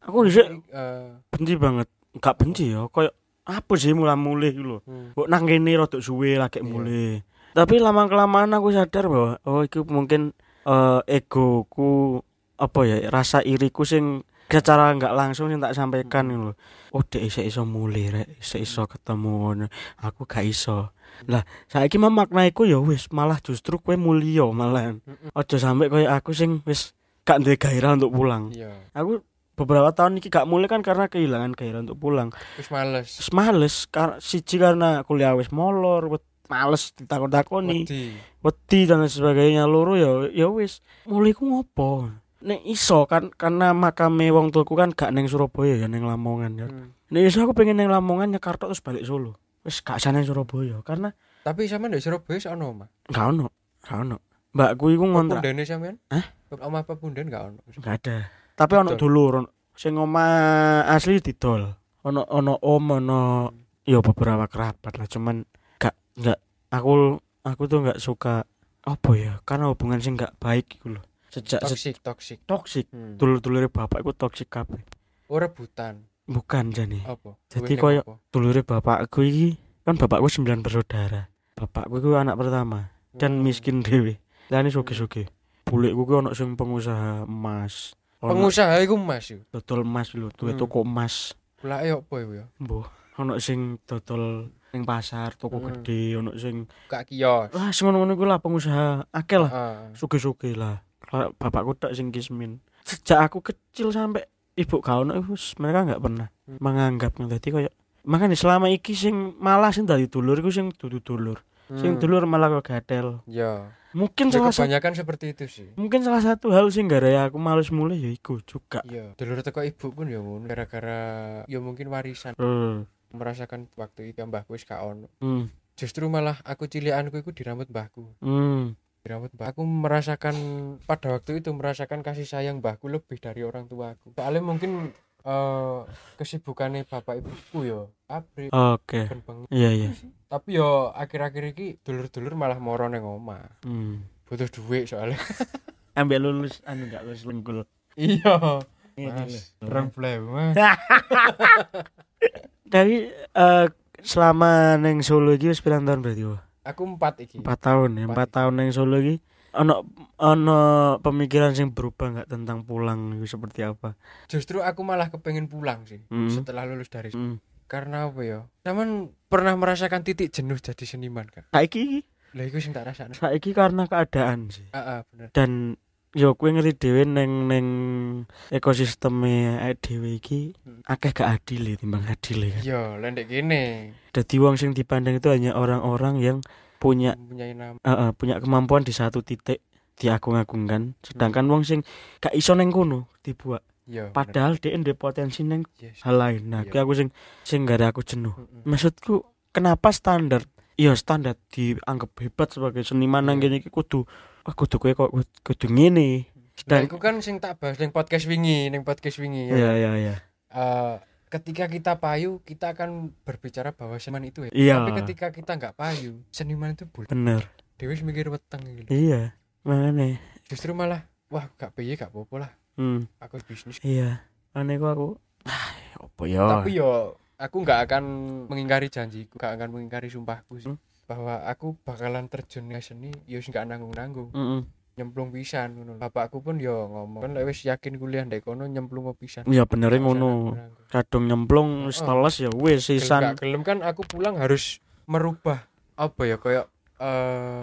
Speaker 2: aku dhisik
Speaker 3: Eh,
Speaker 2: benci banget gak benci ya koyo apa sih mula mulih lho
Speaker 3: hmm.
Speaker 2: kok nang kene rada suwe lagi mulai tapi lama kelamaan aku sadar bahwa oh itu mungkin eh, egoku apa ya rasa iriku sing secara nggak langsung yang tak sampaikan gitu loh oh dek isek iso mulai rek isek iso ketemu ngono. aku gak iso lah saiki mah maknaiku ya wis malah justru kue mulia malahan ojo sampe koyo aku sing wis gak duwe gairah untuk pulang
Speaker 3: Iya,
Speaker 2: aku beberapa tahun iki gak mulai kan karena kehilangan gairah untuk pulang
Speaker 3: wis males.
Speaker 2: Terus males kar siji karena kuliah wis molor, wet- males ditakon-takoni,
Speaker 3: Wedi.
Speaker 2: wedi dan lain sebagainya loro ya ya wis. Mulai ku ngopo? Nek iso kan karena makame wong tuaku kan gak ning Surabaya ya ning Lamongan ya.
Speaker 3: Hmm.
Speaker 2: Nek iso aku pengen ning Lamongan Nyekarta terus balik Solo. Wis gak usah ning Surabaya karena
Speaker 3: Tapi sama ndek Surabaya sak ono omah.
Speaker 2: gak ono, gak ono. Mbakku iku ngontrak
Speaker 3: Pundane sampean?
Speaker 2: Hah?
Speaker 3: Omah apa punden gak ono?
Speaker 2: gak ada. Tapi ono
Speaker 3: Didol.
Speaker 2: dulur ono- sing omah asli didol. Ono ono om ono ya beberapa kerabat lah cuman gak gak aku aku tuh gak suka apa ya karena hubungan sing gak baik gitu loh. Sejak se-
Speaker 3: Toksik, toksik.
Speaker 2: toksik
Speaker 3: Hmm.
Speaker 2: dulur-dulure bapakku toksik kabeh.
Speaker 3: Oh rebutan.
Speaker 2: Bukan jane.
Speaker 3: Apa?
Speaker 2: Jadi
Speaker 3: Duitnya
Speaker 2: koyo-
Speaker 3: apa?
Speaker 2: Dulure bapakku iki kan bapakku sembilan bersaudara. Bapakku itu anak pertama dan
Speaker 3: Hmm.
Speaker 2: miskin dhewe. Lah ini sugih-sugih. Bulikku ku ono sing pengusaha emas. Ono
Speaker 3: Pengusaha iku Mas yo.
Speaker 2: dodol emas lho, duwe
Speaker 3: Hmm.
Speaker 2: toko emas.
Speaker 3: Kulake opo iku ya?
Speaker 2: Mbah, ono sing dodol ning pasar, toko
Speaker 3: Mm-mm.
Speaker 2: gede, ono sing
Speaker 3: Kak kios.
Speaker 2: wah semono-mono iku lah pengusaha akeh lah,
Speaker 3: Ah.
Speaker 2: sugih-sugih lah. Kalau Bapakku tak sing kismin. Sejak aku kecil sampai ibu gak ono iku s- mereka nggak pernah
Speaker 3: Hmm.
Speaker 2: menganggap dadi koyo makanya selama iki sing malah sing dari dulur iku sing dudu dulur. Sing
Speaker 3: Hmm.
Speaker 2: dulur malah kok gatel.
Speaker 3: Ya,
Speaker 2: Mungkin
Speaker 3: ya
Speaker 2: salah satu
Speaker 3: kebanyakan seperti itu sih.
Speaker 2: mungkin salah satu hal sing gara aku males mulai ya iku juga.
Speaker 3: Iya, dulur teko ibu pun ya ngono gara-gara ya mungkin warisan
Speaker 2: Hmm.
Speaker 3: merasakan waktu itu mbahku wis gak ono.
Speaker 2: Hmm.
Speaker 3: Justru malah aku cilianku iku dirambut mbahku.
Speaker 2: hmm.
Speaker 3: Dirambut mbah. Aku merasakan pada waktu itu merasakan kasih sayang mbahku lebih dari orang tuaku. Soalnya mungkin eh kesibukannya bapak ibuku ya pabrik
Speaker 2: Oh. Oke.
Speaker 3: ben bengi.
Speaker 2: Iya iya.
Speaker 3: Tapi yo akhir-akhir iki dulur-dulur malah moro nang omah.
Speaker 2: Hmm.
Speaker 3: Butuh duit soalnya.
Speaker 2: ambek lulus anu gak lulus lenggul
Speaker 3: iya.
Speaker 2: Iya,
Speaker 3: Mas, orang play, Mas.
Speaker 2: tapi eh, selama neng Solo iki wis pirang tahun berarti wah
Speaker 3: Aku empat iki.
Speaker 2: 4 tahun ya 4 tahun neng Solo iki ono ono pemikiran sing berubah nggak tentang pulang itu seperti apa
Speaker 3: Justru aku malah kepengen pulang sih
Speaker 2: Hmm.
Speaker 3: setelah lulus dari
Speaker 2: hmm.
Speaker 3: karena apa ya? Taman pernah merasakan titik jenuh jadi seniman kak?
Speaker 2: saiki
Speaker 3: Lah iku sing tak rasakno.
Speaker 2: saiki karena keadaan sih
Speaker 3: Heeh, bener.
Speaker 2: dan yo kue ngerti dhewe neng neng ekosistemnya awake dhewe iki akeh gak adil ya timbang adil ya kan
Speaker 3: Yo, lendek gini
Speaker 2: jadi wong sing dipandang itu hanya orang-orang yang punya
Speaker 3: mempunyai nama.
Speaker 2: Heeh, punya kemampuan di satu titik diagung-agungkan sedangkan
Speaker 3: Hmm.
Speaker 2: wong sing gak iso neng kono dibuat
Speaker 3: Yo. Iya, bener.
Speaker 2: padahal dia ndek potensi neng
Speaker 3: Yes.
Speaker 2: hal Mm, lain nah
Speaker 3: Oh, Iya.
Speaker 2: kuwi aku sing sing gak aku jenuh
Speaker 3: Mm-mm.
Speaker 2: maksudku kenapa standar iya standar dianggap hebat sebagai seniman nang
Speaker 3: Iya.
Speaker 2: kene iki kudu "Wah, kudu kowe kok kudu ngene
Speaker 3: Nah,
Speaker 2: dan
Speaker 3: iku kan sing tak bahas ning podcast wingi, ning podcast wingi. ya.
Speaker 2: iya iya iya
Speaker 3: Eh, ketika kita payu, kita akan berbicara bahwa seniman itu ya.
Speaker 2: Iya.
Speaker 3: Tapi ketika kita nggak payu, seniman itu boleh.
Speaker 2: bener
Speaker 3: Dewi mikir weteng gitu.
Speaker 2: iya mana
Speaker 3: Justru malah wah gak piye gak apa-apa lah.
Speaker 2: hmm
Speaker 3: Aku bisnis.
Speaker 2: iya mana kok aku ah opo ya
Speaker 3: Tapi yo aku nggak akan mengingkari janjiku, gak akan
Speaker 2: Hmm.
Speaker 3: mengingkari sumpahku sih. Bahwa aku bakalan terjun ke seni, yo nggak nanggung-nanggung.
Speaker 2: Mm-mm.
Speaker 3: nyemplung pisan ngono. Bapakku pun yo ngomong, kan lek wis yakin kuliah ndek kono nyemplung pisan.
Speaker 2: ya bener ngono
Speaker 3: Pisan aku
Speaker 2: kadung nyemplung wis
Speaker 3: Iya, Heeh.
Speaker 2: teles ya wis
Speaker 3: Gelem
Speaker 2: sisan
Speaker 3: gak gelem kan aku pulang harus merubah apa ya kayak eh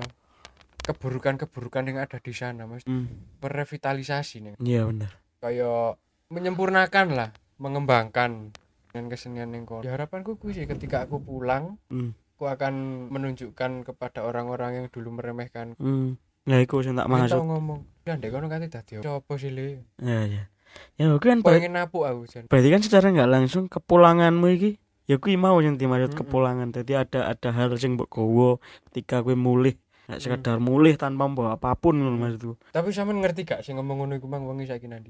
Speaker 3: keburukan-keburukan yang ada di sana mas
Speaker 2: Hmm,
Speaker 3: merevitalisasi nih
Speaker 2: iya bener
Speaker 3: kayak menyempurnakan lah mengembangkan dengan kesenian yang kono harapanku kuwi sih ketika aku pulang
Speaker 2: Hmm.
Speaker 3: aku akan menunjukkan kepada orang-orang yang dulu meremehkan
Speaker 2: Hmm. Nah, iku sing tak
Speaker 3: kita
Speaker 2: maksud.
Speaker 3: ngomong ya ndek kono kate dadi apa Apa sih le
Speaker 2: Ya, ya. Ya, kuwi kan ber-
Speaker 3: pengen napu aku jan
Speaker 2: berarti kan secara nggak langsung kepulanganmu iki ya kuwi mau yang dimaksud
Speaker 3: Mm-mm.
Speaker 2: kepulangan. Jadi ada ada hal sing mbok gowo ketika kowe mulih, nggak sekedar mulih tanpa membawa apapun ngono maksudku.
Speaker 3: tapi sampean ngerti gak sing ngomong ngono iku mang wong saiki nanti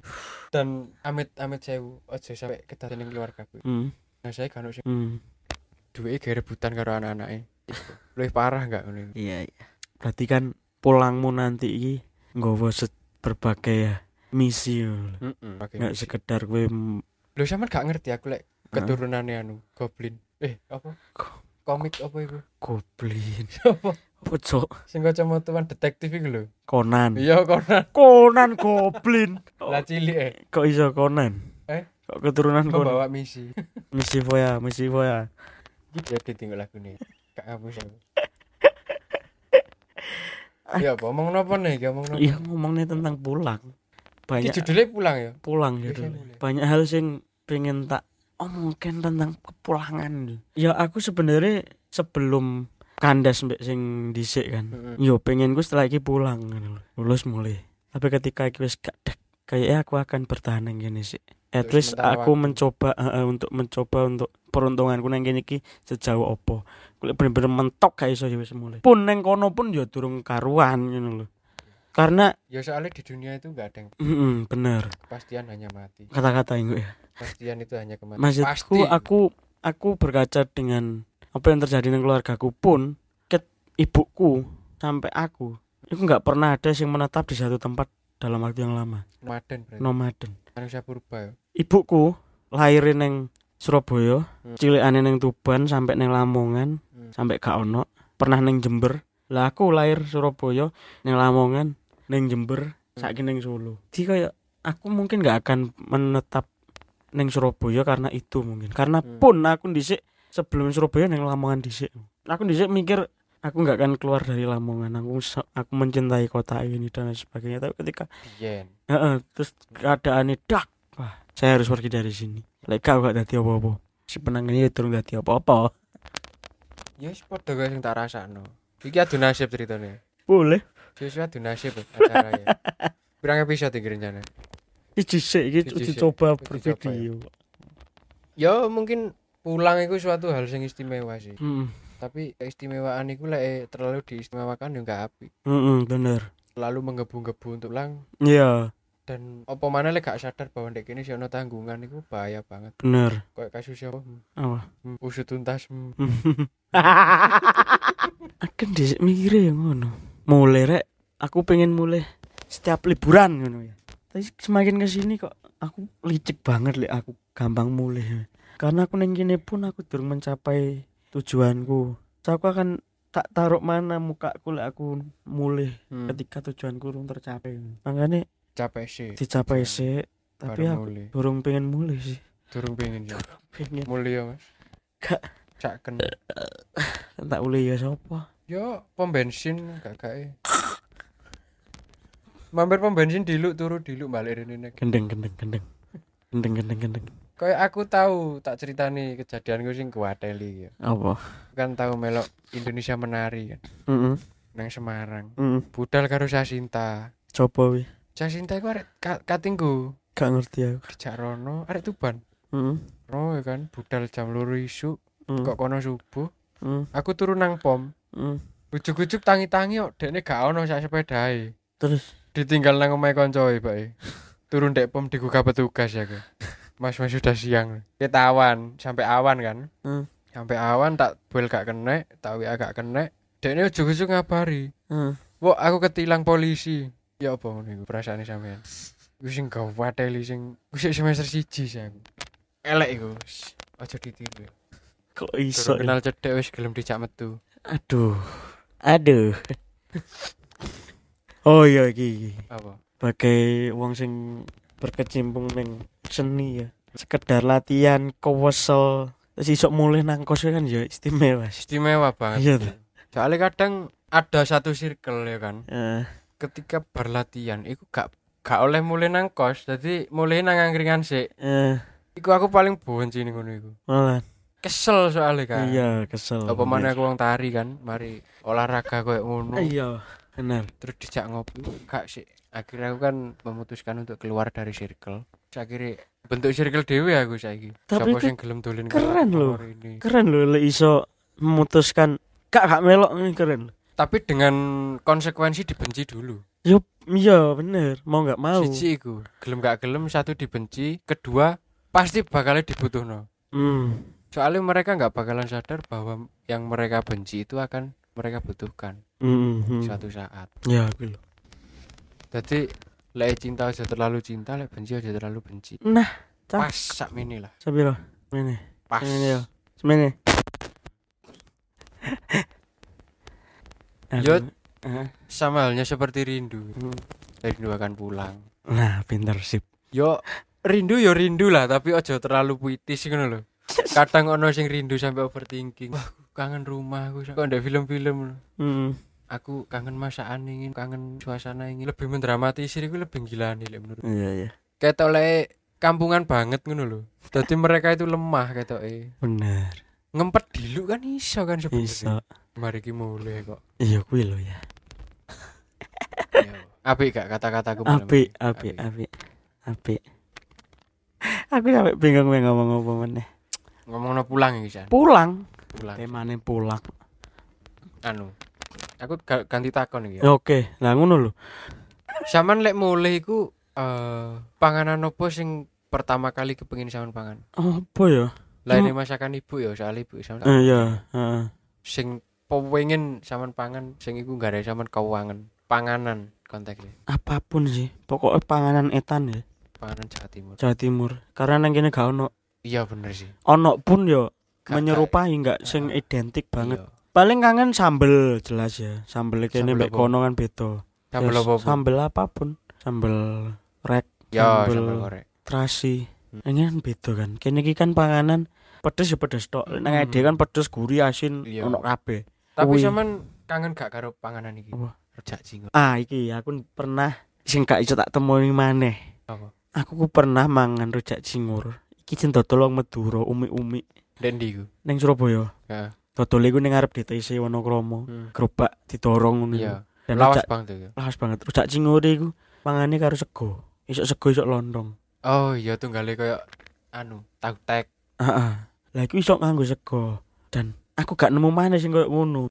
Speaker 3: dan amit-amit sewu aja sampai kedatangan keluarga aku
Speaker 2: Hmm.
Speaker 3: nah saya kan sing
Speaker 2: Hmm.
Speaker 3: duwe gawe rebutan karo anak-anake lebih parah gak ngono iku?
Speaker 2: Iya, iya. Berarti kan pulangmu nanti iki nggowo se- berbagai misi ngono.
Speaker 3: Heeh. Oke.
Speaker 2: nggak sekedar kowe m-
Speaker 3: Lho sampean gak ngerti aku lek
Speaker 2: Hah?
Speaker 3: keturunannya anu goblin. Eh, apa?
Speaker 2: Ko-
Speaker 3: Komik apa iku?
Speaker 2: goblin.
Speaker 3: Apa?
Speaker 2: Apa, Cok?
Speaker 3: Sing kacamataan detektif iku lho.
Speaker 2: Conan.
Speaker 3: Iya, Conan.
Speaker 2: Conan goblin.
Speaker 3: Lah cilik eh
Speaker 2: Kok iso Conan?
Speaker 3: Eh?
Speaker 2: Kok keturunan Conan?
Speaker 3: membawa misi.
Speaker 2: Misi foya, misi foya.
Speaker 3: Iki dia ditinggal lagu nih. Gak ngapus aku. Ya, apa omong nopo nih? Gak omong nopo.
Speaker 2: Iya ngomongnya tentang pulang.
Speaker 3: Iki
Speaker 2: Banyak
Speaker 3: judulnya pulang ya.
Speaker 2: pulang
Speaker 3: Iya,
Speaker 2: gitu.
Speaker 3: boleh.
Speaker 2: Banyak hal sing pengen tak omongin tentang kepulangan. Ya aku sebenarnya sebelum kandas mbek sing dhisik kan.
Speaker 3: Heeh.
Speaker 2: Yo pengen gue setelah iki pulang ngono lho. Lulus mulai. Tapi ketika iki wis gak dek, kayaknya aku akan bertahan yang gini sih. At
Speaker 3: Untuk
Speaker 2: least
Speaker 3: sementara
Speaker 2: aku
Speaker 3: waktu.
Speaker 2: mencoba eh, eh, untuk mencoba untuk peruntunganku nang kene iki sejauh opo. Kuwi bener-bener mentok gak iso ya wis mulai. Pun neng kono pun ya durung karuan ngono lho. Karena
Speaker 3: Ya soalnya di dunia itu gak ada yang
Speaker 2: Mm-mm, bener
Speaker 3: kepastian hanya mati.
Speaker 2: kata-kata itu ya.
Speaker 3: Kepastian itu hanya kematian.
Speaker 2: Maksudku aku aku berkaca dengan apa yang terjadi dengan keluargaku pun ke ibuku sampai aku itu nggak pernah ada yang menetap di satu tempat dalam waktu yang lama
Speaker 3: nomaden berarti.
Speaker 2: nomaden
Speaker 3: Manusia purba ya.
Speaker 2: ibuku lahirin neng Surabaya
Speaker 3: Hmm.
Speaker 2: cilikane neng Tuban sampai neng Lamongan
Speaker 3: Hmm.
Speaker 2: sampai gak ono pernah neng Jember lah aku lahir Surabaya neng Lamongan neng Jember
Speaker 3: Hmm.
Speaker 2: saiki neng Solo jadi kayak aku mungkin gak akan menetap neng Surabaya karena itu mungkin karena
Speaker 3: Hmm.
Speaker 2: pun aku dhisik sebelum Surabaya neng Lamongan dhisik aku dhisik mikir aku nggak akan keluar dari Lamongan aku se- aku mencintai kota ini dan lain sebagainya tapi ketika
Speaker 3: Yen.
Speaker 2: heeh, terus keadaannya dak wah saya harus pergi dari sini lek gak gak dadi apa-apa si penangannya turun dadi apa-apa
Speaker 3: Ya wis padha kaya sing tak rasakno. Iki adu nasib ceritanya.
Speaker 2: boleh
Speaker 3: Siswa adu nasib ya, acara ya. Pirang episode iki rencana?
Speaker 2: Iki sik iki
Speaker 3: Iki
Speaker 2: uji
Speaker 3: sik,
Speaker 2: coba
Speaker 3: uji coba ya.
Speaker 2: bervideo.
Speaker 3: Ya mungkin pulang itu suatu hal yang istimewa sih.
Speaker 2: Heeh.
Speaker 3: Tapi keistimewaan itu lek eh, terlalu diistimewakan ya nggak apik.
Speaker 2: Heeh, bener.
Speaker 3: Terlalu menggebu-gebu untuk lang
Speaker 2: Iya,
Speaker 3: dan apa mana lek gak sadar bahwa ndek kene sih ono tanggungan itu bahaya banget.
Speaker 2: bener.
Speaker 3: Kayak kasus siapa?
Speaker 2: Apa?
Speaker 3: Hmm, usut tuntas. hmm.
Speaker 2: Akan dhisik mikire ya ngono. Mulai rek aku pengen mulai setiap liburan ngono ya. Tapi semakin ke sini kok aku licik banget lek aku gampang mulai. Karena aku neng kene pun aku durung mencapai tujuanku. So, aku akan tak taruh mana mukaku lek aku mulai
Speaker 3: Hmm,
Speaker 2: ketika tujuanku belum tercapai. Makanya
Speaker 3: capek sih.
Speaker 2: dicapai sih, tapi
Speaker 3: Baru
Speaker 2: aku
Speaker 3: mulai.
Speaker 2: durung pengen mulai sih.
Speaker 3: Durung pengen ya.
Speaker 2: pengen
Speaker 3: Mulai ya, Mas.
Speaker 2: Gak.
Speaker 3: Saken.
Speaker 2: tak boleh ya sapa
Speaker 3: Yo, pom bensin kakak Mampir pom bensin diluk turu diluk balik rene nek.
Speaker 2: gendeng gendeng gendeng gendeng gendeng gendeng
Speaker 3: Kayak aku tahu tak ceritani kejadianku sing kuateli ya.
Speaker 2: apa
Speaker 3: Kan tahu melok Indonesia menari kan.
Speaker 2: Heeh.
Speaker 3: Nang Semarang.
Speaker 2: Heeh.
Speaker 3: Budal karo Sasinta.
Speaker 2: coba wi
Speaker 3: Sasinta iku arek ka- katingku
Speaker 2: gak ngerti aku
Speaker 3: dijak rono arek Tuban.
Speaker 2: Heeh.
Speaker 3: Rono ya kan budal jam loro isuk
Speaker 2: Heeh.
Speaker 3: kok kono subuh.
Speaker 2: Heeh.
Speaker 3: Aku turu nang pom.
Speaker 2: Heeh.
Speaker 3: Ujuk-ujuk tangi-tangi kok dekne gak ono sak sepedahe.
Speaker 2: terus
Speaker 3: ditinggal nang omahe koncoe, Pak. Turun dek pom digugah petugas ya, aku. Mas Mas sudah siang. Ketawan sampai awan kan.
Speaker 2: Hmm.
Speaker 3: Sampai awan tak bel gak kena, tak WA gak kena. Dekne ujug-ujug ngabari.
Speaker 2: Heeh.
Speaker 3: Wah, aku ketilang polisi. Ya apa ngono iku perasaane sampean? Iku sing gawateli sing iku sik semester 1 sih aku. Elek iku. Shh, Aja ditiru.
Speaker 2: kok iso ya?
Speaker 3: Durung kenal cedek wis gelem dijak metu.
Speaker 2: aduh aduh Oh iya iki. iki.
Speaker 3: Apa?
Speaker 2: Bagai wong sing berkecimpung ning seni ya. Sekedar latihan kewesel terus isok mulih nang kos kan ya istimewa. sih.
Speaker 3: Istimewa banget.
Speaker 2: Iya tuh.
Speaker 3: Soalnya kadang ada satu circle ya kan.
Speaker 2: Eh,
Speaker 3: Ketika berlatihan iku gak gak oleh mulai nang kos, jadi mulai nang angkringan sih.
Speaker 2: eh
Speaker 3: Iku aku paling benci ning ngono iku.
Speaker 2: malah
Speaker 3: Kesel soalnya kan.
Speaker 2: iya kesel.
Speaker 3: Apa mana aku wong tari kan, mari olahraga kayak ngono.
Speaker 2: Iya, benar.
Speaker 3: terus dijak ngopi gak sih akhirnya aku kan memutuskan untuk keluar dari circle Terus akhirnya bentuk circle dewe aku saiki
Speaker 2: Tapi
Speaker 3: Siapa
Speaker 2: itu
Speaker 3: sing gelem dolen
Speaker 2: keren
Speaker 3: karo
Speaker 2: lho.
Speaker 3: hari ini.
Speaker 2: Keren lho lek iso memutuskan gak gak melok ini keren. lho.
Speaker 3: tapi dengan konsekuensi dibenci dulu
Speaker 2: Yo iya bener, mau gak mau.
Speaker 3: siji iku gelem gak gelem satu dibenci kedua pasti bakal dibutuhno
Speaker 2: Hmm.
Speaker 3: soalnya mereka nggak bakalan sadar bahwa yang mereka benci itu akan mereka butuhkan
Speaker 2: Hmm, hmm.
Speaker 3: suatu saat
Speaker 2: Ya, aku lho.
Speaker 3: jadi lek cinta aja terlalu cinta lek benci aja terlalu benci
Speaker 2: Nah, cak.
Speaker 3: pas sak mini lah
Speaker 2: Sampai lah. Mene.
Speaker 3: pas
Speaker 2: Mene ya. yo. Mene.
Speaker 3: Yo.
Speaker 2: Aduh. Eh,
Speaker 3: sama halnya seperti rindu
Speaker 2: hmm.
Speaker 3: rindu akan pulang
Speaker 2: Nah, pinter sip.
Speaker 3: yo rindu yo rindu lah tapi ojo terlalu puitis ngono lho kadang ono sing rindu sampai overthinking wah aku kangen rumah aku kok ndak film-film
Speaker 2: Hmm.
Speaker 3: aku kangen masakan ingin kangen suasana ingin lebih mendramatisir iku lebih gila nih menurut
Speaker 2: Iya, iya.
Speaker 3: kayak oleh kampungan banget ngono lho jadi mereka itu lemah kayak
Speaker 2: Bener.
Speaker 3: ngempet dilu kan iso kan
Speaker 2: Iso.
Speaker 3: sebenarnya mari ki mulai kok
Speaker 2: Iya, kuwi lho ya.
Speaker 3: Ya. apik gak kata-kataku malam
Speaker 2: Apik,
Speaker 3: ini?
Speaker 2: apik, apik. Apik. Aku sampe bingung pengen ngomong apa meneh.
Speaker 3: ngomongno pulang iki San.
Speaker 2: Pulang.
Speaker 3: pulang
Speaker 2: Temane pulang.
Speaker 3: anu aku ga- ganti takon iki ya.
Speaker 2: Oke, lah ngono lho.
Speaker 3: Saman lek mulai iku eh panganan opo sing pertama kali kepengin sampean pangan?
Speaker 2: Apa ya?
Speaker 3: Lainnya masakan ibu ya, soal ibu sampean.
Speaker 2: Eh, Iya, heeh.
Speaker 3: Sing pengen sampean pangan, sing iku gak ada sampean keuangan, panganan konteksnya,
Speaker 2: Apapun sih, pokoknya panganan etan ya,
Speaker 3: panganan Jawa Timur.
Speaker 2: Jawa Timur. Karena nang kene gak ono.
Speaker 3: Iya bener sih.
Speaker 2: Ono pun yo
Speaker 3: Gak-
Speaker 2: menyerupai enggak sing identik
Speaker 3: gak-
Speaker 2: banget.
Speaker 3: iya.
Speaker 2: Paling kangen sambel jelas ya. Sambel kene mbek
Speaker 3: Sambel apa?
Speaker 2: kono kan beda.
Speaker 3: Sambel
Speaker 2: Ya,
Speaker 3: opo? Bu?
Speaker 2: Sambel apapun. Sambel rek,
Speaker 3: Ya,
Speaker 2: sambel-
Speaker 3: sambel korek.
Speaker 2: terasi.
Speaker 3: Hmm.
Speaker 2: Ini kan beda kan. Kene iki kan panganan pedes ya pedes tok. Nang
Speaker 3: Hmm.
Speaker 2: ade kan pedes gurih asin
Speaker 3: Iya.
Speaker 2: ono kabeh.
Speaker 3: Tapi
Speaker 2: Kuwi.
Speaker 3: sampean kangen gak karo panganan iki?
Speaker 2: Wah.
Speaker 3: Rejak jingo.
Speaker 2: Ah iki aku pernah sing gak iso tak temoni maneh.
Speaker 3: Apa?
Speaker 2: Aku ku pernah mangan rujak cingur. Iki jen dodol wong Madura, umi-umi
Speaker 3: Dendi iku.
Speaker 2: ning Surabaya.
Speaker 3: Heeh.
Speaker 2: Dodole ku ning ngarep DTC Wonokromo. Gerobak didorong ngono.
Speaker 3: Iya.
Speaker 2: iku. Dan
Speaker 3: Lawas
Speaker 2: rujak-
Speaker 3: banget iku.
Speaker 2: lawas banget. Rujak cingur iku mangane karo sego. Isok sego isok lontong.
Speaker 3: Oh, iya tunggale koyo anu, tahu tek.
Speaker 2: Heeh. Lah iku isok nganggo sego. Dan aku gak nemu maneh sing koyo ngono.